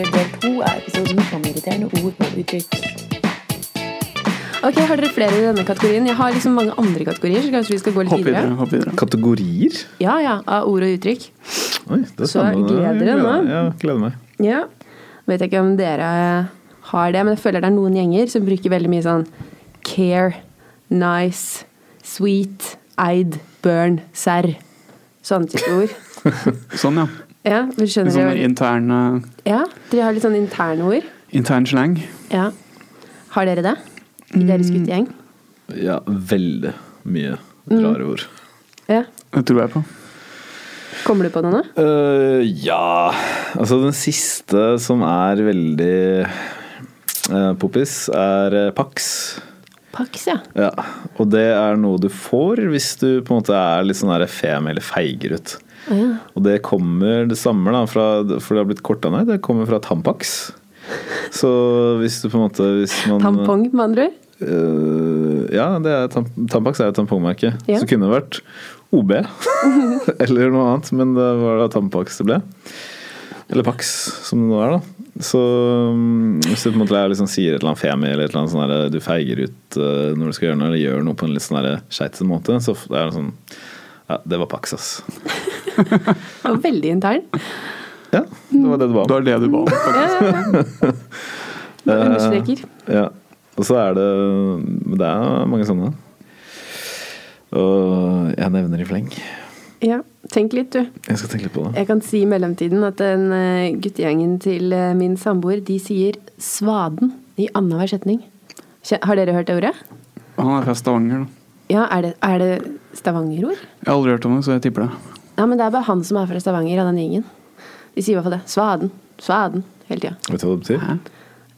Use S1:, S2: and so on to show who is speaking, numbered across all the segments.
S1: er episoden om irriterende ord og uttrykk.
S2: Ok, Har dere flere i denne kategorien? Jeg har liksom mange andre kategorier. så kanskje vi skal gå litt
S3: Hopp videre. hopp videre.
S4: Kategorier?
S2: Ja, ja, Av ord og uttrykk.
S4: Oi, det er
S2: Så
S4: spennende.
S2: gleder
S4: Jeg
S2: dere nå?
S4: Ja, gleder meg.
S2: Ja. Vet jeg ikke om dere har det, men jeg føler det er noen gjenger som bruker veldig mye sånn care, nice, sweet, eid, burn, serr. Sånne type ord.
S3: Sånn, ja.
S2: Ja, vi
S3: Litt
S2: skjønner
S3: sånn
S2: jo-
S3: intern, eh,
S2: Ja, Dere har litt sånn interne ord.
S3: intern slang.
S2: Ja. Har dere det? I deres guttegjeng?
S4: Ja, veldig mye rare ord.
S2: Ja.
S3: Det tror jeg på.
S2: Kommer du på noe nå?
S4: Eh, ja Altså, den siste som er veldig eh, poppis, er eh, Pax.
S2: Pax, ja.
S4: Ja, og det er noe du får hvis du på en måte er litt sånn der fem eller feiger ut. Og det kommer, det stammer da fra, for det har blitt korta ned, det kommer fra Tampax. Så hvis du på en måte hvis
S2: Sånn,
S4: man,
S2: Tampong, med andre ord.
S4: Eh, ja, det er tam Tampax er et tampongmerke.
S2: Ja.
S4: Så kunne det vært OB eller noe annet, men det var da Tampax det ble. Eller Pax, som det nå er, da. Så mm, hvis du på en måte er liksom sier et eller annet femi eller et eller annet sånn der, du feiger ut eh, når du skal gjøre noe, eller gjør noe på en litt sånn der skeitete måte, så f- er det sånn Ja, det var Pax, ass.
S2: Det var veldig intern.
S4: Ja, det var det det var.
S3: Det var det du ba om.
S2: Ja, ja, ja. Bare Understreker.
S4: Ja. Og så er det Det er mange sånne. Og jeg nevner i fleng.
S2: Ja. Tenk litt, du.
S4: Jeg skal tenke litt på det.
S2: Jeg kan si i mellomtiden at den eh, guttegjengen til eh, min samboer, de sier 'svaden' i annenhver setning. Kje- Har dere hørt det ordet?
S3: Han er fra Stavanger, da.
S2: Ja, er det, er det Stavanger-ord?
S3: Jeg har aldri hørt om det, så jeg tipper det.
S2: Ja, men det er bare han som er fra Stavanger av den gjengen. De sier i hvert fall det. 'Svaden', 'svaden' hele tida.
S4: Vet du hva det betyr?
S3: Hæ?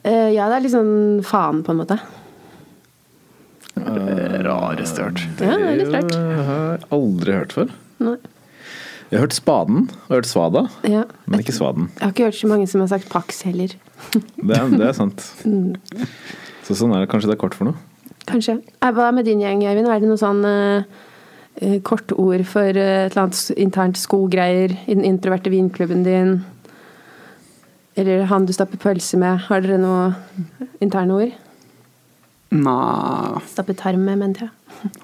S2: Eh, ja, det er litt sånn faen, på en måte.
S3: Rarest Eh, jeg har hørt.
S2: Ja, det er litt rart.
S4: Jeg har aldri hørt før.
S2: Nei.
S4: Jeg har hørt spaden og hørt svada,
S2: Ja.
S4: men ikke svaden.
S2: Jeg har ikke hørt så mange som har sagt Pax heller.
S4: Det er, det er sant.
S2: Mm.
S4: Så sånn er det. Kanskje det er kort for noe.
S2: Kanskje. Eh, Hva er med din gjeng, Eivind? Er det noe sånn eh, eh, kortord for eh, et eller annet s- internt skogreier i den introverte vinklubben din? Eller han du stapper pølse med? Har dere noe interne ord?
S3: Nei
S2: Stappet tarm med, mente jeg.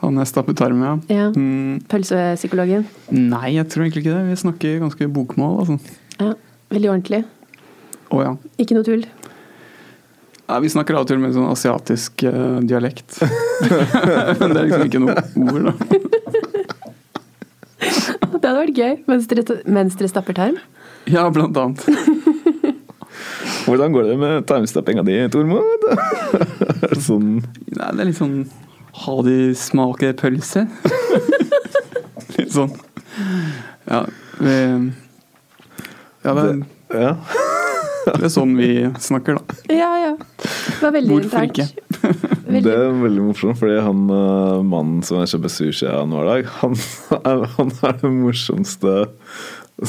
S3: Han er stappet tarm, ja.
S2: Ja.
S3: Mm,
S2: Pølsepsykologen.
S3: nei, jeg tror egentlig ikke det. Vi snakker ganske bokmål, altså.
S2: Ja. Veldig ordentlig.
S3: Å ja.
S2: Ikke noe tull.
S3: Nei, vi snakker av og til med sånn asiatisk eh, dialekt. Men det er liksom ikke noe ord, da.
S2: Det hadde vært gøy. Mens dere, ta- mens dere stapper tarm.
S3: Ja, blant annet.
S4: Hvordan går det med timestappinga di, Tormod? Er det sånn
S3: Nei, det er litt sånn Ha de smaker pølse. litt sånn. Ja, vi Ja, det,
S4: Ja.
S3: det er sånn vi snakker, da.
S2: Ja, ja. Det var veldig
S3: Hvorfor
S2: internt. Veldig.
S4: Det er veldig morsomt, fordi han eh, mannen som jeg kjøper sushi av nå i dag, han er, han er den morsomste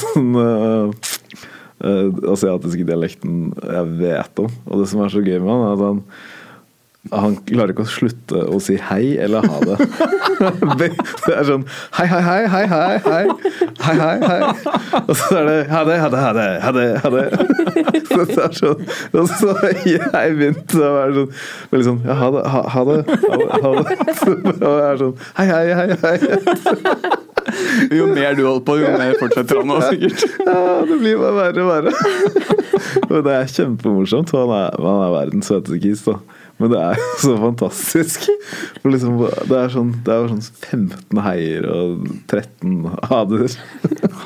S4: sånn eh, eh, asiatiske dialekten jeg vet om. Og det som er så gøy med han, er at han han klarer ikke å slutte å si hei eller ha det. Det det er sånn hei, hei, hei, hei, hei, hei, hei, hei, hei. Og så er det ha det, ha det, ha det, ha det, ha det. Så det er sånn, og så jeg begynte å være sånn veldig sånn ja, ha det, ha, ha det, ha det, ha det. Og jeg er sånn hei, hei, hei, hei.
S3: Jo mer du holder på, jo mer fortsetter han nå, sikkert.
S4: Ja, det blir bare verre og verre. Og det er kjempemorsomt. og Han er, han er verdens søteste kis, da. Men det er jo så fantastisk. For liksom, det er sånn, det er jo sånn 15 heier og 13 hader.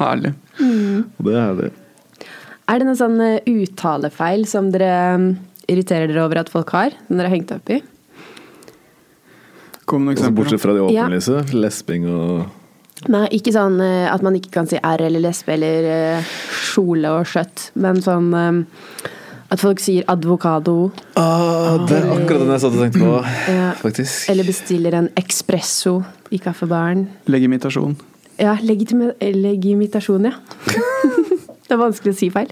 S3: Herlig.
S4: Og det er det.
S2: Er det noen sånn eh, uttalefeil som dere mm, irriterer dere over at folk har, som dere har hengt opp i?
S3: Kom noen
S4: Også
S3: eksempler.
S4: Altså, bortsett
S3: da.
S4: fra de
S2: Ja.
S4: åpenlyse. Lesping og
S2: Nei, ikke sånn eh, at man ikke kan si R eller lesbe eller eh, kjole og skjøtt, men sånn eh, at folk sier advokado
S4: ah, Det er akkurat den jeg satt og tenkte på,
S2: Ja.
S4: faktisk.
S2: eller bestiller en espresso i kaffebaren.
S3: Legimitasjon.
S2: Ja, legitime, eh, legimitasjon, ja. det er vanskelig å si feil.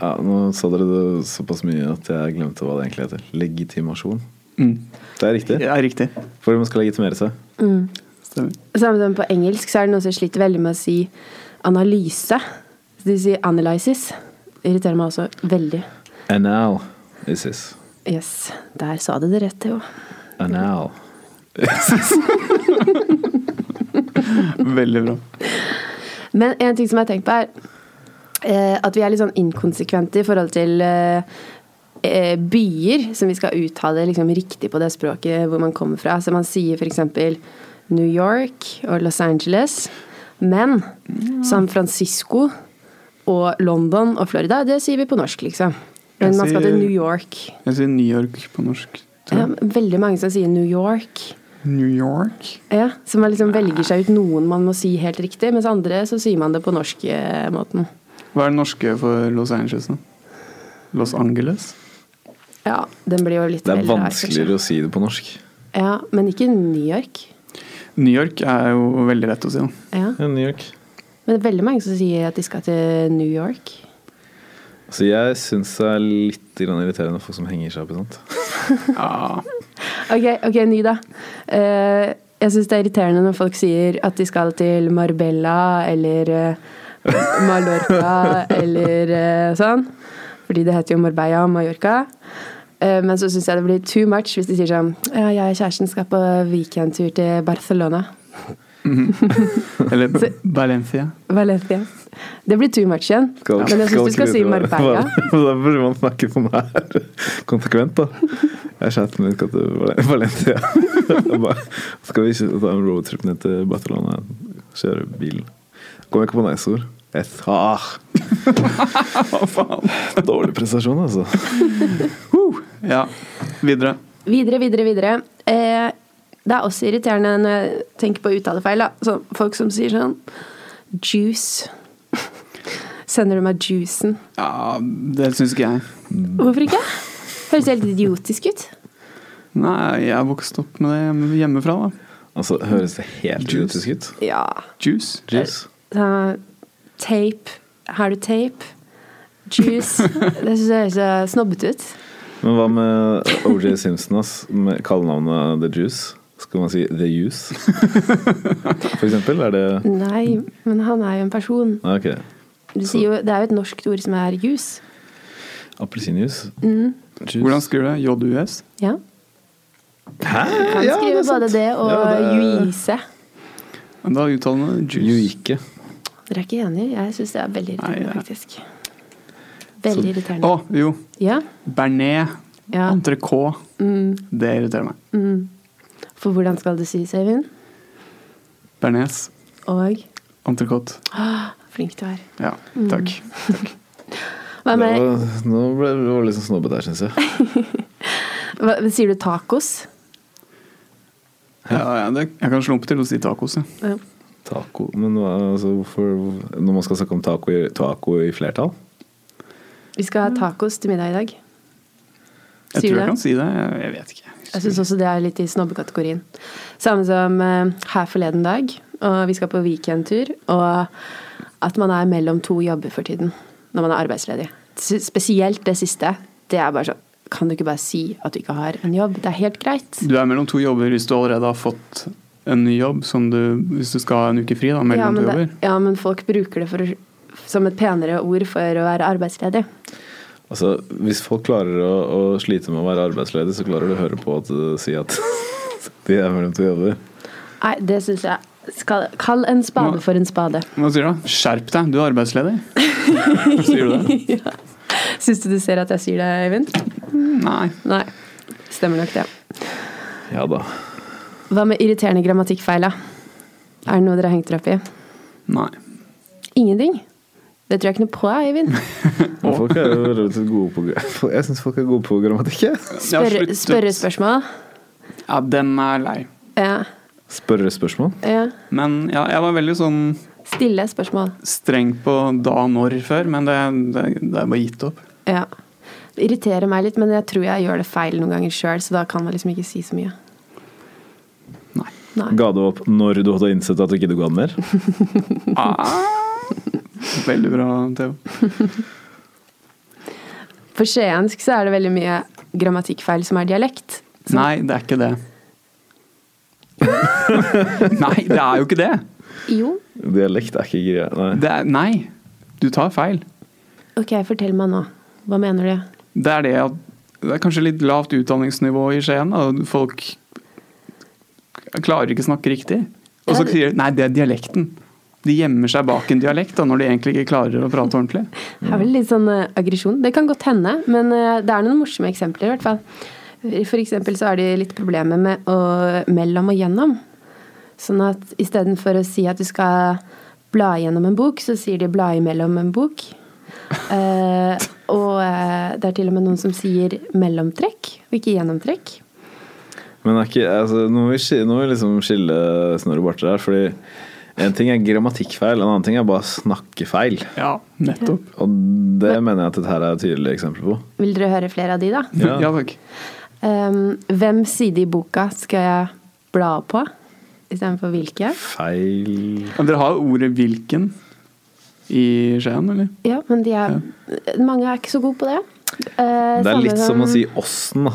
S4: Ja, nå sa dere det såpass mye at jeg glemte hva det egentlig heter. Legitimasjon.
S3: Mm.
S4: Det er riktig.
S3: Det er riktig.
S4: For man skal legitimere seg.
S3: Stemmer.
S2: Samme som på engelsk, så er det noen som sliter veldig med å si analyse. Så de sier analysis. Det irriterer meg også veldig.
S4: Anal is his.
S2: Yes. Der sa du det rett, Theo.
S4: Anal.
S3: Veldig bra.
S2: Men en ting som jeg har tenkt på, er eh, at vi er litt sånn inkonsekvente i forhold til eh, eh, byer, som vi skal uttale liksom riktig på det språket hvor man kommer fra. Så man sier f.eks. New York og Los Angeles, men San Francisco og London og Florida, det sier vi på norsk, liksom. Men
S3: Jeg
S2: man skal til
S3: sier-
S2: New York.
S3: Jeg sier New York på norsk. tror
S2: Ja,
S3: jeg.
S2: veldig mange som sier New York.
S3: New York?
S2: Ja, så man liksom velger seg ut noen man må si helt riktig, mens andre så sier man det på eh, norsk-måten.
S3: Hva er det norske for Los Angeles? da? Los Angeles?
S2: Ja, den blir jo litt
S4: Det er
S2: veldig rar, kanskje.
S4: vanskeligere å si det på norsk.
S2: Ja, men ikke New York.
S3: New York er jo veldig lett å si. da.
S2: Ja.
S4: Ja, New York.
S2: Men det er veldig mange som sier at de skal til New York.
S4: Så jeg syns det er litt grann irriterende folk som henger seg opp i sånt.
S2: Ok, ok, ny da. Eh, jeg syns det er irriterende når folk sier at de skal til Marbella eller eh, Mallorca eller eh, sånn. Fordi det heter jo Marbella og Mallorca. Eh, men så syns jeg det blir too much hvis de sier sånn Ja, jeg og kjæresten skal på weekendtur til Barcelona.
S3: Eller Valencia.
S2: Valencia. Det blir tro match igjen.
S4: Skal-
S2: Men jeg syns du skal si
S4: skryte med-
S2: Marbella.
S4: Men Da burde man snakke sånn her konsekvent, da. Jeg skjønte meg ikke at det var Valencia. Jeg bare, Skal vi ikke ta en roadtrip ned til Barcelona? Kjøre bil? Kom ikke på nice-ord. Jeg sa Dårlig prestasjon, altså.
S3: Woo! Ja, videre.
S2: Videre, videre, videre. Eh, det er også irriterende når jeg tenker på uttalefeil. Da. Så folk som sier sånn Juice. Sender du meg juicen?
S3: Ja, det syns ikke jeg.
S2: Hvorfor ikke? Høres helt idiotisk ut.
S3: Nei, jeg vokste opp med det hjemme- hjemmefra, da.
S4: Altså, Høres det helt
S3: Juice.
S4: idiotisk ut?
S2: Ja.
S3: Juice.
S2: Eh,
S4: Juice.
S2: Så, tape. Har du tape? Juice. Det syns jeg høres så snobbete ut.
S4: Men hva med OJ Simpson, ass? Med kallenavnet The Juice? Skal man si The Juice? For eksempel? Er det
S2: Nei, men han er jo en person.
S4: Nei, Ok.
S2: Du sier jo, det er jo et norsk ord som er juice.
S4: Appelsinjuice? Juice.
S3: Hvordan skriver du det? JUS?
S2: Ja.
S4: Hæ?
S2: Kan
S4: Ja, det
S2: skrive
S4: er sant.
S2: både det og
S4: Ja, det er-
S2: juice.
S3: Men Da uttaler man det juice.
S4: Juike.
S2: Dere er ikke enige? Jeg syns det er veldig irriterende,
S3: Nei, ja.
S2: faktisk. Veldig
S3: Å,
S2: irriterende.
S3: jo.
S2: Ja,
S3: Bearnés.
S2: ja.
S3: Entrecôte.
S2: Mm,
S3: Det irriterer meg.
S2: mm. For hvordan skal det sies, Eivind?
S3: Bearnés.
S2: Og
S3: Entrecôte.
S2: ah, flink du er.
S3: Ja,
S2: Mm.
S3: takk.
S2: Hva
S4: Det
S2: med,
S4: var, nå ble det var litt sånn snobbete her, syns jeg.
S2: hva, sier du tacos?
S3: Ja, ja, det, jeg kan slumpe til å si tacos. Ja.
S2: Ja.
S4: Taco Men hva- altså, hvorfor Når man skal snakke om taco i, taco i flertall?
S2: Vi skal ha tacos til middag i dag.
S3: Jeg
S2: Sier
S3: tror
S2: du
S3: jeg
S2: det?
S3: kan si det. Jeg, jeg vet ikke.
S2: Jeg syns også det er litt i snobbekategorien. Samme som eh, her forleden dag, og vi skal på weekendtur, og at man er mellom to jobber for tiden når man er arbeidsledig. S- Spesielt det siste. Det er bare sånn Kan du ikke bare si at du ikke har en jobb? Det er helt greit.
S3: Du er mellom to jobber hvis du allerede har fått en ny jobb, som du, hvis du skal ha en uke fri da, mellom
S2: ja, men
S3: to
S2: det,
S3: jobber.
S2: ja, men folk bruker det for, å- som et penere ord for å være arbeidsledig.
S4: Altså, Hvis folk klarer å, å slite med å være arbeidsledig, så klarer du å høre på at du sier at de er mellom to jobber.
S2: Nei, det syns jeg skal, Kall en spade
S3: Nå-
S2: for en spade.
S3: Hva sier du da? Skjerp deg, du er arbeidsledig. sier du det?
S2: Syns du du ser at jeg sier det, Eivind?
S3: Nei.
S2: Nei. Stemmer nok det.
S4: Ja da.
S2: Hva med irriterende grammatikkfeil, da? Er det noe dere har hengt dere opp i?
S3: Nei.
S2: Ingenting. Det tror jeg ikke noe på, Eivind.
S4: Men folk er jo relativt gode på gra- Jeg syns folk er gode på grammatikk. jeg.
S2: Spørre,
S3: slutt.
S2: spørre spørsmål.
S3: Ja, den er lei.
S2: Ja,
S4: Spørre spørsmål.
S2: ja.
S3: Men ja, jeg var veldig sånn
S2: Stille spørsmål.
S3: streng på da når før, men det, det, det er bare gitt opp.
S2: Ja. Det irriterer meg litt, men jeg tror jeg gjør det feil noen ganger sjøl, så da kan man liksom ikke si så mye.
S3: Nei.
S2: Nei.
S4: Ga du opp når du hadde innsett at du ikke ga den mer?
S3: Ah. Veldig bra, Theo.
S2: For skjensk så er det veldig mye grammatikkfeil som er dialekt. Så-
S3: Nei, det er ikke det. nei, det er jo ikke det.
S2: Jo.
S4: Dialekt er ikke greia. Nei.
S3: det er, nei, du tar feil.
S2: Ok, fortell meg nå. Hva mener du?
S3: det er det at det er kanskje litt lavt utdanningsnivå i Skien. da. Folk klarer ikke å snakke riktig. Og
S2: Ja,
S3: så
S2: det-
S3: sier de nei, det er dialekten. De gjemmer seg bak en dialekt da, når de egentlig ikke klarer å prate ordentlig.
S2: Det er vel litt sånn eh, aggresjon. Det kan godt hende, men eh, det er noen morsomme eksempler i hvert fall. For eksempel så er det litt problemer med å mellom og gjennom. Sånn at istedenfor å si at du skal bla gjennom en bok, så sier de bla imellom en bok. Eh, og eh, det er til og med noen som sier mellomtrekk, og ikke gjennomtrekk.
S4: Men er ikke, altså, nå, må vi, skille- nå må vi liksom skille Snorre Barter her, fordi en ting er grammatikkfeil, en annen ting er bare snakkefeil.
S3: Ja, nettopp.
S4: Og det mener jeg at dette her er et tydelig eksempel på.
S2: Vil dere høre flere av de, da?
S4: Ja.
S3: ja takk.
S2: Ehm, hvem side i boka skal jeg bla på? Istedenfor hvilke?
S4: Feil
S3: Men dere har ordet 'hvilken' i Skien, eller?
S2: Ja, men de er, mange er ikke så gode på det. Eh,
S4: Det er
S2: samme
S4: litt som å si åssen, da.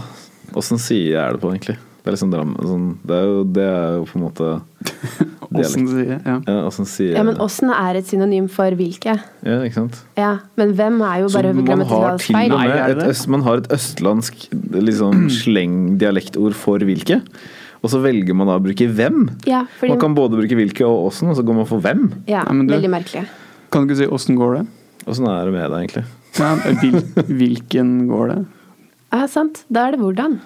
S4: Åssen side er det på, egentlig? Det er liksom dram, sånn, det, er jo, det er jo på en måte
S3: Åssen
S4: dialekt.
S3: sier jeg? Ja.
S4: Ja, åssen side
S2: Ja, men åssen er et synonym for hvilke.
S4: Ja, ikke sant?
S2: Ja, Men hvem er jo
S4: Så
S2: bare
S4: man har
S2: grammatikalt
S4: til og
S2: feil.
S3: Nei, er
S4: med
S3: det
S4: et,
S3: det?
S4: øst, man har et østlandsk liksom, sleng-dialektord for hvilke, og så velger man da å bruke hvem.
S2: Ja, fordi,
S4: Man kan både bruke hvilke og åssen, og så går man for hvem.
S2: ja
S3: Nei, men du-
S2: Veldig merkelig.
S3: Kan du ikke si 'åssen går det'?
S4: Åssen er det med deg, egentlig?
S3: Nei, eh, hvil, hvilken går det?
S2: Ja, sant. Da er det hvordan.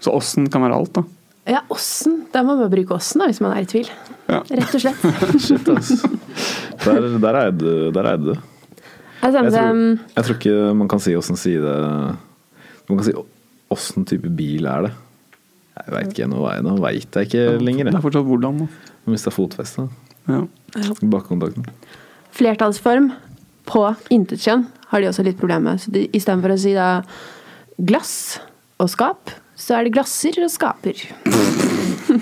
S3: Så 'åssen' kan være alt, da.
S2: Ja, åssen. Da må man bare bruke åssen da, hvis man er i tvil.
S3: Ja.
S2: Rett og slett.
S4: Shit, ass. Der, der er du. Der er du.
S2: Det er
S4: Jeg,
S2: samme
S4: tror,
S2: som
S4: jeg tror ikke man kan si åssen side Man kan si åssen type bil er det. Jeg veit ikke, nå, nå veit jeg ikke lenger.
S3: Det er
S4: jeg.
S3: fortsatt 'hvordan', da.
S4: Jeg mista fotfestet.
S3: Ja.
S4: Bakkontakten.
S2: flertallsform på intetkjønn har de også litt problemer med. Så de, istedenfor å si da glass og skap, så er det glasser og skaper.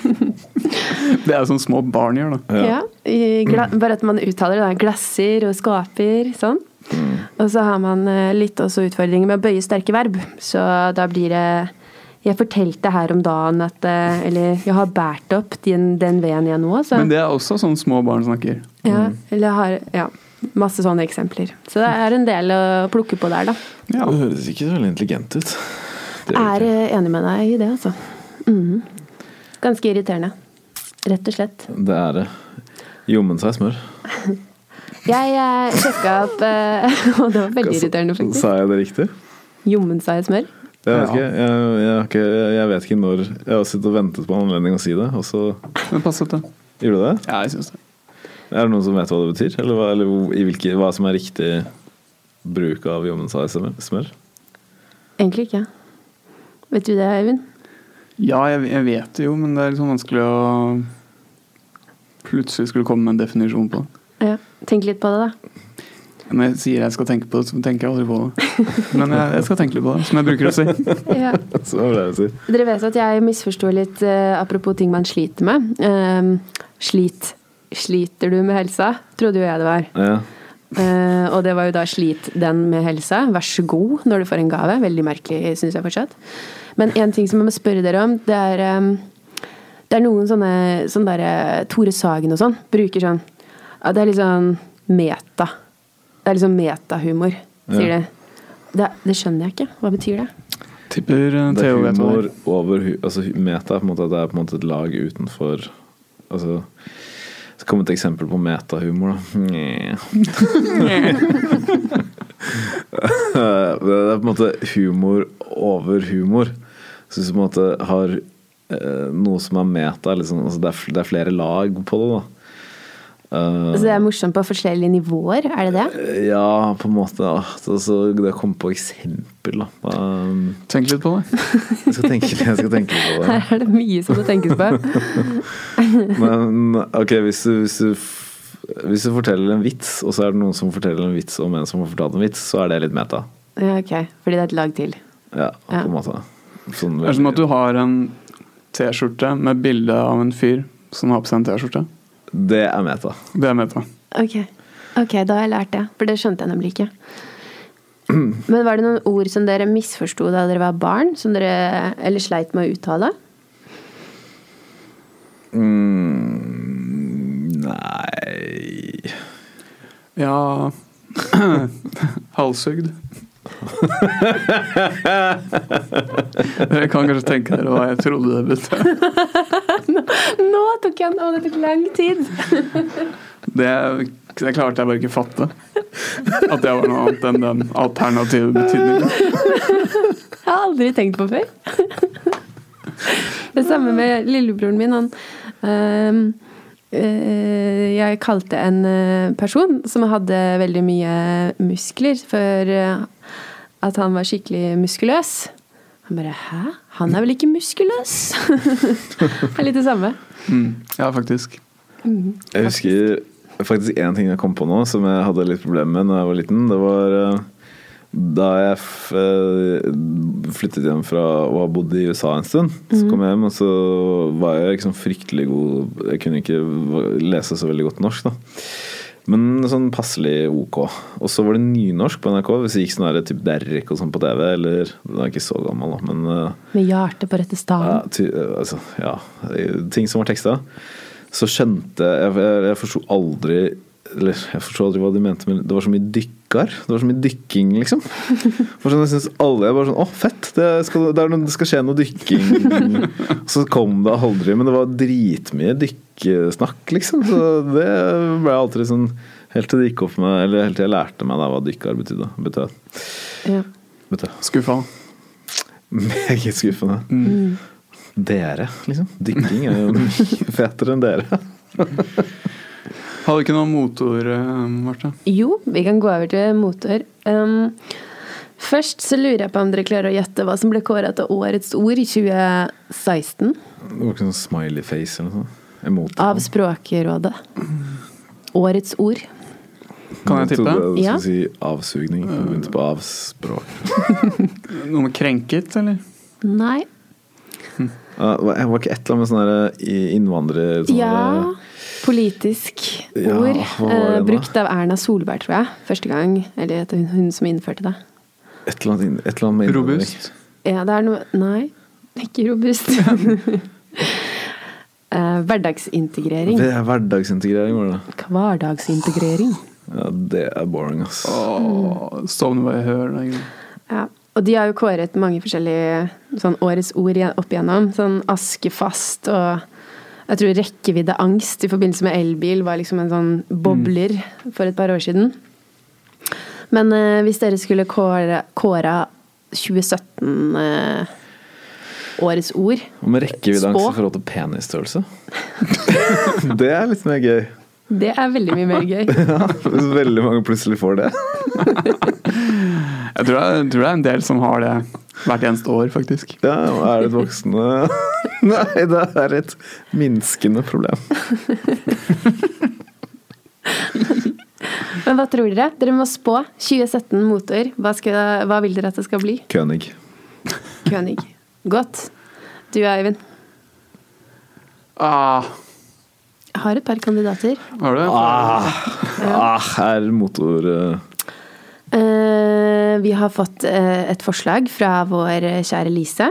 S3: Det er jo sånn små barn gjør, da.
S2: Ja. i gla
S3: Mm.
S2: bare at man uttaler det. da, Glasser og skaper, sånn.
S3: Mm.
S2: Og så har man eh, litt også utfordringer med å bøye sterke verb. Så da blir det Jeg fortalte her om dagen at eh, Eller jeg har båret opp den, den veden jeg nå, så
S3: Men det Mm. er også sånn små barn snakker.
S2: ja, Eller jeg har Ja. Masse sånne eksempler. Så det er en del å plukke på der, da.
S3: Ja.
S4: Det høres ikke så veldig intelligent ut. Det gjør
S2: Er
S4: det ikke.
S2: eh, enig med deg i det, altså. Mhm. Ganske irriterende. Rett og slett.
S4: Det er det. Jommen seg smør.
S2: Jeg eh, sjekka opp eh, Og det var veldig irriterende, faktisk.
S4: Sa jeg det riktig?
S2: Jommen seg smør.
S4: Jeg vet,
S3: Ja.
S4: ikke, jeg, jeg, har ikke, jeg vet ikke når Jeg har sittet og ventet på en anledning å si det, og så
S3: Men pass opp, da.
S4: gjorde du det?
S3: Ja, jeg syns det.
S4: Er det noen som vet hva det betyr? Eller, hva, eller hvor- i hvilke, hva som er riktig bruk av jommen seg smør- smør?
S2: Egentlig ikke. Vet du det, Eivind?
S3: Ja, jeg, jeg vet det jo, men det er liksom vanskelig å Plutselig skulle komme med en definisjon på det.
S2: Ja. Tenk litt på det, da.
S3: Når jeg sier jeg skal tenke på det, så tenker jeg aldri på det. Men jeg, jeg skal tenke litt på det, som jeg bruker å si.
S4: Så hva er det jeg sier?
S2: Dere vet at jeg misforsto litt eh, apropos ting man sliter med. Ehm, slit. Sliter du med helsa? Trodde jo jeg det var.
S4: Ja.
S2: Eh, og det var jo da slit den med helsa. Vær så god når du får en gave. Veldig merkelig, syns jeg fortsatt. Men en ting som jeg må spørre dere om, det er eh, Det er noen sånne, sånne der, eh, Tore Sagen og sånn bruker sånn ja, Det er litt sånn meta. Det er liksom metahumor, sier
S4: Ja.
S2: de. Det, det skjønner jeg ikke. Hva betyr det?
S3: Tipper eh,
S4: Det er
S3: Theo vet hva
S4: humor
S3: det er.
S4: over hu- altså, hu- Meta er på en måte at det er på en måte et lag utenfor Altså Så kom et eksempel på metahumor, da. Nye. det er på en måte humor over humor. Så hvis du på en måte har eh, noe som er meta, liksom, altså det, er, fl- det er flere lag på det, da. Eh,
S2: Altså, det er morsomt på forskjellige nivåer, er det det?
S4: ja, på en måte. ja. Så, så det kom på eksempel, da. Um,
S3: Tenk litt på det.
S4: jeg skal tenke, jeg skal tenke litt på det.
S2: Her er det mye som må tenkes på.
S4: Men ok, hvis du, hvis, du, f- hvis du forteller en vits, og så er det noen som forteller en vits om en som har fortalt en vits, så er det litt meta.
S2: Ja, ok. Fordi det er et lag til.
S4: Ja, på
S2: Ja.
S4: en måte. Sånn,
S3: Det er som at du har en T-skjorte med bilde av en fyr som har på seg en T-skjorte.
S4: det er meta.
S3: Det er jeg med på.
S2: Ok, ok, da har jeg lært det. For det skjønte jeg nemlig ikke. Men var det noen ord som dere misforsto da dere var barn? Som dere eller sleit med å uttale?
S4: Nei
S3: Ja Halshugd. Dere kan kanskje tenke dere hva jeg trodde det betød.
S2: Nå tok jeg den! Å, det tok lang tid!
S3: Det, det klarte jeg bare ikke fatte. At det var noe annet enn den alternative betydningen.
S2: Jeg har aldri tenkt på før. Det samme med lillebroren min. Han, ehm, eh, jeg kalte en eh, person som hadde veldig mye muskler, for eh, at han var skikkelig muskuløs. Han bare 'hæ? Han er vel ikke muskuløs?' det er litt det samme.
S3: Mm. Ja, faktisk.
S4: Jeg husker faktisk én ting jeg kom på nå som jeg hadde litt problemer med da jeg var liten. Det var eh, da jeg f eh, flyttet hjem fra og har bodd i USA en stund. Så kom jeg hjem, og så var jeg liksom fryktelig god Jeg kunne ikke v- lese så veldig godt norsk, da. Men sånn passelig ok. Og så var det nynorsk på NRK. Hvis det gikk sånn der, typ Derrick og sånn på TV, eller Den er ikke så gammel, da, men eh,
S2: Med hjertet på rette
S4: ja,
S2: staven.
S4: ty, altså, ja, ting som var teksta. Så skjønte jeg Jeg, jeg forsto aldri eller jeg forsto aldri hva de mente, men det var så mye dykkar. Det var så mye dykking, liksom. Det var Sånn, jeg synes alle, jeg bare sånn, Å, fett! Det skal, det, er noe, det skal skje noe dykking. Så kom det aldri, men det var dritmye dykkesnakk, liksom. Så det ble jeg alltid sånn Helt til det gikk opp for meg, eller helt til jeg lærte meg da hva dykkar betydde. Betød.
S2: Ja.
S4: Betød.
S3: Skuffa.
S4: Meget skuffende. Dere, liksom. Mm. Dykking er jo mye fetere enn dere.
S3: Har du ikke noe motord, eh, Marte?
S2: Jo, vi kan gå over til motor. Um, først så lurer jeg på om dere klarer å gjette hva som ble kåret til årets ord i 2016.
S4: Det var ikke sånn smiley face eller noe sånt. Emot.
S2: Av Språkrådet. Årets ord.
S3: Kan jeg tippe?
S4: trodde Du skulle
S2: Ja.
S4: si avsugning. Du Begynte på avspråk.
S3: Noe med krenket, eller?
S2: Nei.
S4: Ja, det var det var ikke et eller annet med sånn der i- innvandrer... sånn
S2: Ja.
S4: der-
S2: Politisk
S4: Ja,
S2: ord.
S4: hva var det
S2: eh,
S4: nå?
S2: brukt av Erna Solberg, tror jeg. Første gang. Eller at det var hun som innførte det.
S4: Et eller annet, inn- et eller annet med innvandring.
S3: Robust?
S2: Ja, det er noe Nei, ikke robust. Eh, Hverdagsintegrering.
S4: Det er hverdagsintegrering, var det.
S2: Hverdagsintegrering.
S4: Ja, det er boring, ass.
S3: Åh, Sovner bare jeg hører det. egentlig.
S2: Ja, og de har jo kåret mange forskjellige sånn årets ord igjen- opp igjennom. Sånn askefast og jeg tror rekkeviddeangst i forbindelse med elbil var liksom en sånn bobler for et par år siden. Men eh, hvis dere skulle kåre, kåra 2017 eh, årets ord
S4: Og med rekkeviddeangst
S2: Spå.
S4: i forhold til penisstørrelse. det er litt mer gøy.
S2: Det er veldig mye mer gøy.
S4: Ja, hvis veldig mange plutselig får det.
S3: Jeg tror, det er- jeg tror det er en del som har det hvert eneste år, faktisk.
S4: Ja, er det et voksende Nei, det er et minskende problem.
S2: Men hva tror dere? Dere må spå 2017 motor. Hva, skal, hva vil dere at det skal bli?
S4: König.
S2: König. Godt. Du, Eivind,
S3: Ah,
S2: har et par kandidater.
S3: har du det?
S4: Ah, er motor eh,
S2: Eh, vi har fått eh, et forslag fra vår eh, kjære Lise,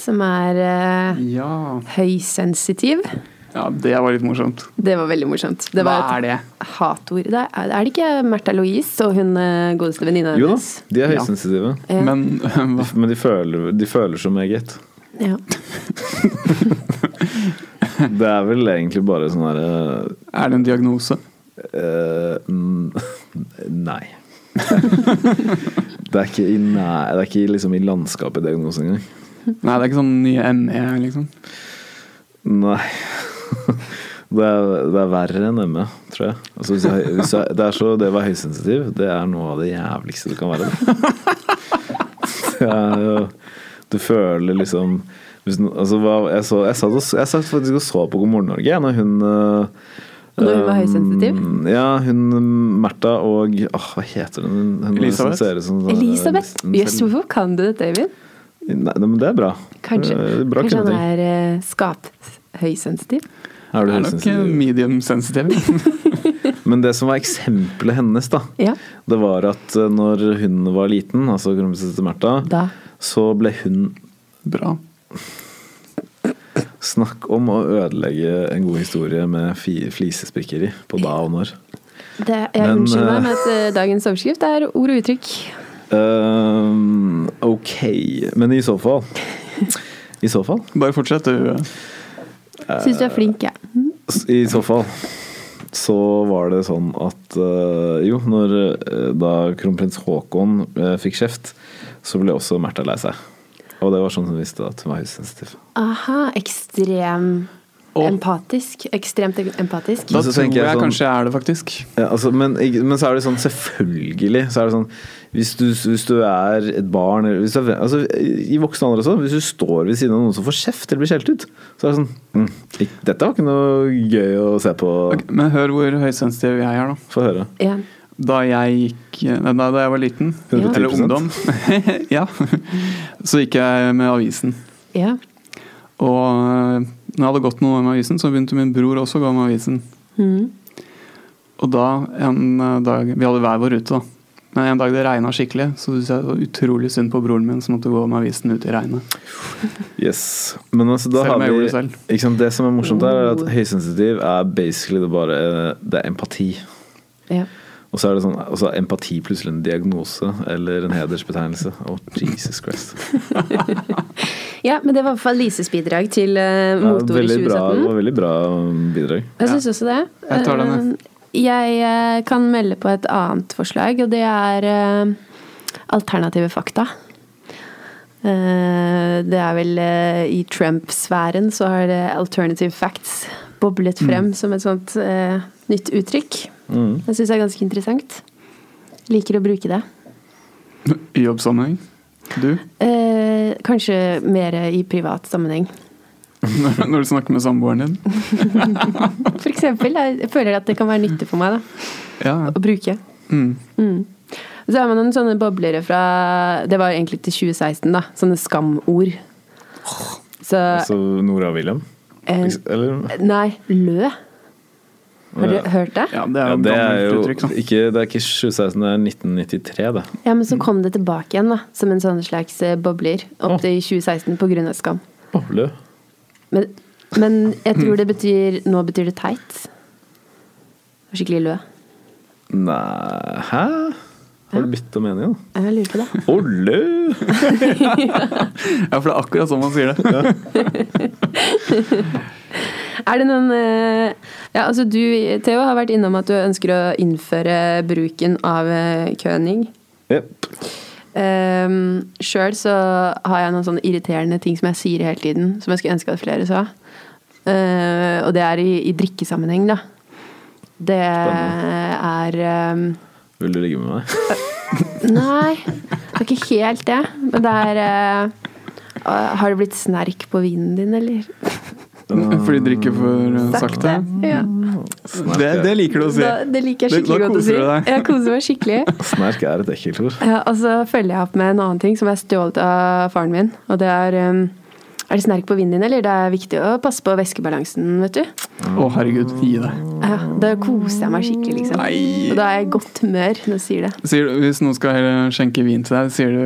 S2: som er eh,
S3: Ja.
S2: høysensitiv.
S3: ja, det var litt morsomt.
S2: Det var veldig morsomt. Det var
S3: Hva er det?
S2: et hatord. Det er, er det ikke Märtha Louise og hun eh, godeste venninna
S4: Jo da,
S2: hennes?
S4: de er
S3: Ja.
S4: høysensitive.
S2: Ja.
S3: Men hva-
S4: Men de føler, de føler så meget.
S2: Ja.
S4: Det er vel egentlig bare sånn herre
S3: er det en diagnose?
S4: Nei. Det er ikke i, næ- det er ikke liksom i landskapet diagnose engang.
S3: Nei, det er ikke sånn nye ME, liksom.
S4: Nei. Det er, det er verre enn ME, tror jeg. Altså, hvis jeg, hvis jeg det, er så, det å være høysensitiv, det er noe av det jævligste det kan være. Det er jo Du føler liksom hvis, no- altså, hva- jeg, så, jeg, satt og, jeg satt faktisk og så på God morgen Norge jeg, når hun eh,
S2: Når hun var
S4: eh,
S2: høysensitiv?
S4: Ja, hun Märtha og åh, Hva heter hun? hun hun
S3: Elisabeth?
S4: som ser ut som sånn-
S2: Elisabeth!
S4: nesten
S2: Jøss,
S4: selv-
S2: hvorfor kan du dette, Eivind?
S4: Nei, men det er bra.
S2: Kanskje,
S4: Det er bra
S2: kanskje han
S4: kvinneting.
S2: er eh, skaphøysensitiv?
S4: Er du
S3: Det er nok eh,
S4: høysensitiv?
S3: medium sensitive.
S4: Men det som var eksempelet hennes, da,
S2: Ja.
S4: det var at eh, når hun var liten, altså kronprinsesse til Märtha,
S2: Da.
S4: så ble hun
S3: Bra.
S4: Snakk om å ødelegge en god historie med fi- flisespikkeri på da og når.
S2: Det, jeg
S4: Men,
S2: unnskylder
S4: eh,
S2: meg med at eh, dagens overskrift er ord og uttrykk.
S4: Ehm, ok, men i så fall I så fall
S3: Bare fortsett, du.
S4: Eh,
S2: Syns du er flink, jeg.
S4: I så fall så var det sånn at eh, jo, når, eh, da kronprins Haakon eh, fikk kjeft, så ble også Märtha lei seg. Og det var sånn hun visste at hun var høysensitiv.
S2: Aha, ekstrem
S3: Å.
S2: empatisk. Ekstremt empatisk.
S3: Da
S4: Men så
S3: tror
S4: tenker
S3: jeg,
S4: jeg sånn-
S3: kanskje jeg er det, faktisk.
S4: Ja, altså, men, ikke- men så er det sånn selvfølgelig så er det sånn, hvis, du, hvis du er et barn eller hvis du er, altså, I voksen alder også, hvis du står ved siden av noen som får kjeft eller blir skjelt ut, så er det sånn mm, ikk- Dette var ikke noe gøy å se på.
S3: Ok, men hør hvor høysensitiv jeg er, da.
S4: Få høre.
S2: Ja.
S3: Da jeg gikk eh, nei, Da jeg var liten,
S4: 110%.
S3: eller ungdom, ja, så gikk jeg med avisen.
S2: ja.
S3: Og eh, når jeg hadde gått noen år med avisen, så begynte min bror også å gå med avisen.
S2: Mhm.
S3: Og da en eh, dag Vi hadde hver vår rute, da. Men en dag det regna skikkelig, så syntes jeg det var utrolig synd på broren min som måtte gå med avisen ut i regnet.
S4: Yes. Men altså, da
S3: Selv om
S4: har
S3: jeg
S4: vi
S3: gjorde det selv.
S4: ikke sant, Det som er morsomt, her er at
S2: Oh.
S4: høysensitiv er basically det bare Det er empati.
S2: ja.
S4: Og så er det sånn, og så er empati plutselig en diagnose eller en hedersbetegnelse. Oh, Jesus Christ.
S2: Ja, men det var i hvert fall Lises bidrag til uh,
S4: Det er
S2: Motor i
S4: veldig bra, det
S2: 2017.
S4: var veldig bra bidrag.
S2: Jeg syns også det.
S3: Jeg tar den, jeg.
S2: Eh, jeg eh, kan melde på et annet forslag, og det er eh, alternative fakta. Eh, det er vel eh, i Trump-sfæren så har det alternative facts boblet frem som et sånt eh, nytt uttrykk.
S4: Mm.
S2: Det syns jeg er ganske interessant. Liker å bruke det.
S3: I jobbsammenheng. Du,
S2: Eh, kanskje mer i privat sammenheng.
S3: når når du snakker med samboeren din.
S2: For eksempel, jeg føler at det kan være nyttig for meg da,
S3: Ja.
S2: å bruke.
S3: Mm.
S2: Så har man noen sånne boblere fra Det var egentlig til 2016, da. Sånne skamord. Så
S3: Eh,
S4: Altså Nora og William?
S2: eh,
S4: Eller?
S2: Nei, lø. Har du hørt det?
S3: ja, det er
S4: Ja,
S3: jo et
S4: det er
S3: gammelt
S4: jo
S3: uttrykk. da.
S4: ikke, det er ikke 2016, det er 1993, det.
S2: Ja, men så kom det tilbake igjen, da. Som en sånn slags eh, bobler. Opp til 2016 på grunn av skam.
S4: Boble.
S2: Men, men jeg tror det betyr Nå betyr det teit. Skikkelig lø.
S4: Nei Hæ? Har du bytta mening, da?
S2: Jeg lurer på det.
S4: Olle!
S3: Ja, for det er akkurat sånn man sier det.
S2: Er det noen eh, Ja, altså du, Theo, har vært innom at du ønsker å innføre bruken av eh, køning.
S4: Jepp.
S2: Um, Sjøl så har jeg noen sånne irriterende ting som jeg sier hele tiden, som jeg skulle ønske at flere sa. Eh, og det er i, i drikkesammenheng, da. Det er um,
S4: Vil du ligge med meg?
S2: Nei, det er ikke helt det. Men det er eh, Har det blitt snerk på vinen din, eller?
S3: Fordi du drikker for eh, sakte.
S2: Ja.
S4: Snerk
S3: Det,
S4: er-
S3: det liker du Mm. å si.
S2: Da, det liker jeg
S3: Da- da
S2: skikkelig godt å
S3: koser
S2: si.
S3: du deg.
S2: Jeg koser meg skikkelig.
S4: Snerk er et ekkelt ord.
S2: Ja, og så følger jeg opp med en annen ting som er stjålet av faren min. Og det er um, Er det snerk på vinden din, eller? Det er viktig å passe på væskebalansen, vet du.
S3: Å, herregud. Gi deg.
S2: Ja, da koser jeg meg skikkelig, liksom.
S3: Nei.
S2: Og da er jeg i godt humør når jeg sier det.
S3: Sier du, hvis noen skal heller skjenke vin til deg, sier du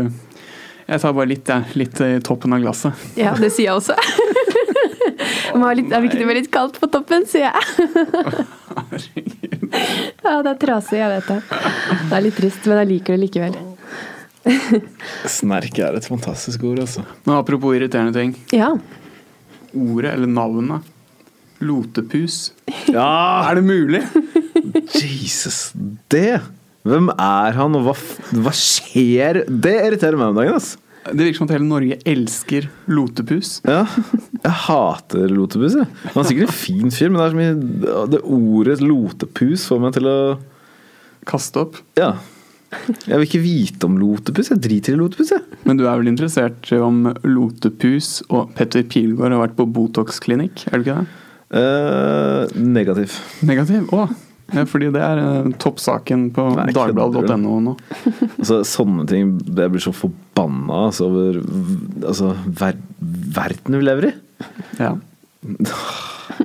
S3: Jeg tar bare litt, jeg. Litt i toppen av glasset.
S2: Ja, det sier jeg også. Det var litt, det er viktig med litt kaldt på toppen, sier jeg. Ja, det er trasig, jeg vet det. Det er litt trist, men jeg liker det likevel.
S4: Snerk er et fantastisk ord, altså.
S3: Men apropos irriterende ting.
S2: Ja.
S3: Ordet eller navnet lotepus.
S4: Ja!
S3: Er det mulig?
S4: Jesus, det! Hvem er han, og hva, f- hva skjer? Det irriterer meg om dagen, ass.
S3: Det virker som at hele Norge elsker lotepus.
S4: Ja. Jeg hater lotepus, jeg. Han er sikkert en fin fyr, men det er så mye Det ordet lotepus får meg til å
S3: Kaste opp.
S4: Ja. Jeg vil ikke vite om lotepus. Jeg driter i lotepus, jeg.
S3: Men du er vel interessert i om lotepus og Petter Pilgaard har vært på Botox-klinikk? Er du ikke det?
S4: Eh, negativ.
S3: Negativ? Å! Ja, fordi det er eh, toppsaken på
S4: Nei, jeg kødder, du.
S3: dagbladet.no nå.
S4: Altså, sånne ting Jeg blir så forbanna altså, over altså, ver verden vi lever i.
S3: Ja.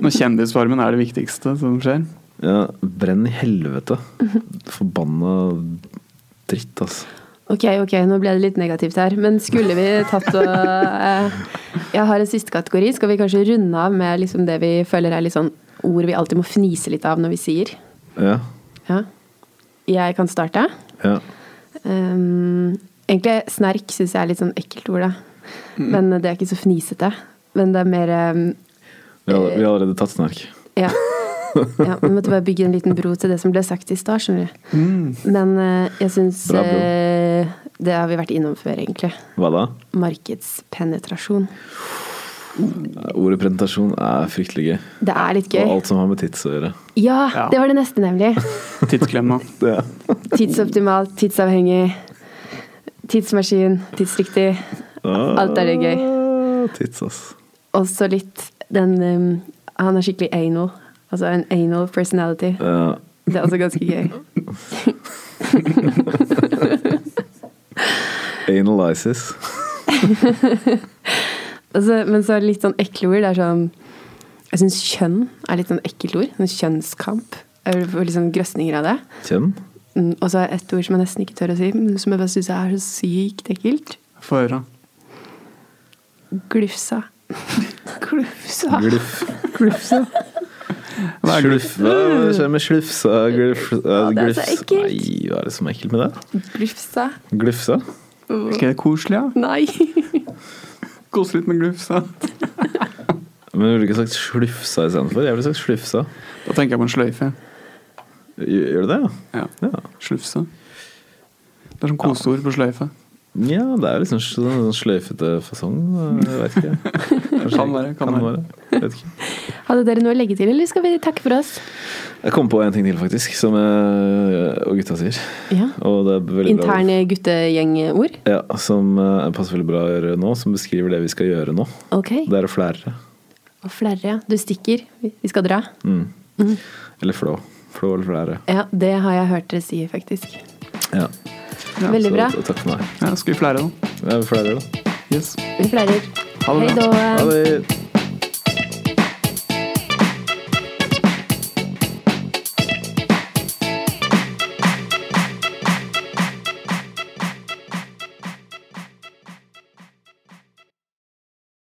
S3: Når Kjendisfarmen er det viktigste som skjer.
S4: Ja, brenn i helvete. Forbanna dritt, altså.
S2: Ok, ok, nå ble det litt negativt her. Men skulle vi tatt og eh, Jeg har en siste kategori. Skal vi kanskje runde av med liksom det vi føler er litt sånn ord vi alltid må fnise litt av når vi sier?
S4: Ja.
S2: Ja. Jeg kan starte.
S4: ja.
S2: Eh, Ehm, egentlig snerk syns jeg er litt sånn ekkelt ord, da.
S4: Mm.
S2: Men det er ikke så fnisete. Men det er mer ehm,
S4: Vi har, vi har allerede tatt snerk.
S2: Ja. ja vi måtte bare bygge en liten bro til det som ble sagt i stad, skjønner du. Men eh, jeg syns
S4: Mm. Bra bro.
S2: eh, Det har vi vært innom før, egentlig.
S4: Hva da?
S2: Markedspenetrasjon.
S4: Ordet presentasjon er fryktelig gøy.
S2: Det er litt
S4: Og
S2: gøy.
S4: alt som har med tits å gjøre.
S2: Ja,
S3: Ja.
S2: det var det neste, nemlig.
S3: Tidsklemma.
S4: Det er
S2: Tidsoptimalt, tidsavhengig. Tidsmaskin, tidsriktig. Alt er det gøy.
S4: Ah, Tits, ass.
S2: Og så litt den um, Han er skikkelig anal. Altså en anal personality.
S4: Ja.
S2: Det er også ganske gøy.
S4: Analysis.
S2: Og så- men så er det litt sånn ekle ord. Det er sånn Jeg syns kjønn er litt sånn ekkelt ord. Sånn kjønnskamp. Jeg får liksom grøsninger av det.
S4: Kjønn.
S2: Mm, Og så er det ett ord som jeg nesten ikke tør å si, men som jeg bare syns er så sykt ekkelt.
S3: Få høre.
S2: Glufsa. Glufsa.
S4: Gluf.
S3: Hva er glufs?
S4: Slufsa. Hva skjer med slufsa? Glufsa.
S2: det er så ekkelt.
S4: Nei, hva er det som er ekkelt med det?
S2: Glufsa.
S4: Glufsa?
S3: Ikke det koselig, da?
S2: Nei.
S3: Kose litt med glufs, da.
S4: Men ville du ikke sagt slufsa istedenfor? Jeg ville sagt slufsa.
S3: Da tenker jeg på en sløyfe.
S4: Gjør gjør du det, ja?
S3: Ja.
S4: Ja,
S3: Slufse. Det er sånn koseord på sløyfe.
S4: ja det er jo liksom sånn sånn sløyfete fasong. eh, Jeg vet ikke. Kanskje-
S3: Kan være, kan være.
S4: Jeg Vet ikke.
S2: Hadde dere noe å legge til, eller skal vi takke for oss?
S4: Jeg kom på en ting til, faktisk, som jeg, og gutta sier.
S2: Ja.
S4: Og det er veldig bra.
S2: Interne guttegjengord.
S4: Ja, som eh, passer veldig bra å gjøre nå, som beskriver det vi skal gjøre nå.
S2: Ok.
S4: Det er å flære.
S2: Og flere, ja. Du stikker. Vi vi skal dra.
S4: Mm. Eller flå. Flå eller flære.
S2: Ja, det har jeg hørt dere si, faktisk.
S4: Ja.
S3: Ja,
S2: Veldig
S4: Så
S2: bra.
S4: t- takk for meg.
S3: Ja, skal vi flere, da?
S4: Ja, vi flærer, da.
S3: Yes.
S2: Vi fleirer.
S3: Ha det bra.
S2: Hei da.
S4: Ha det.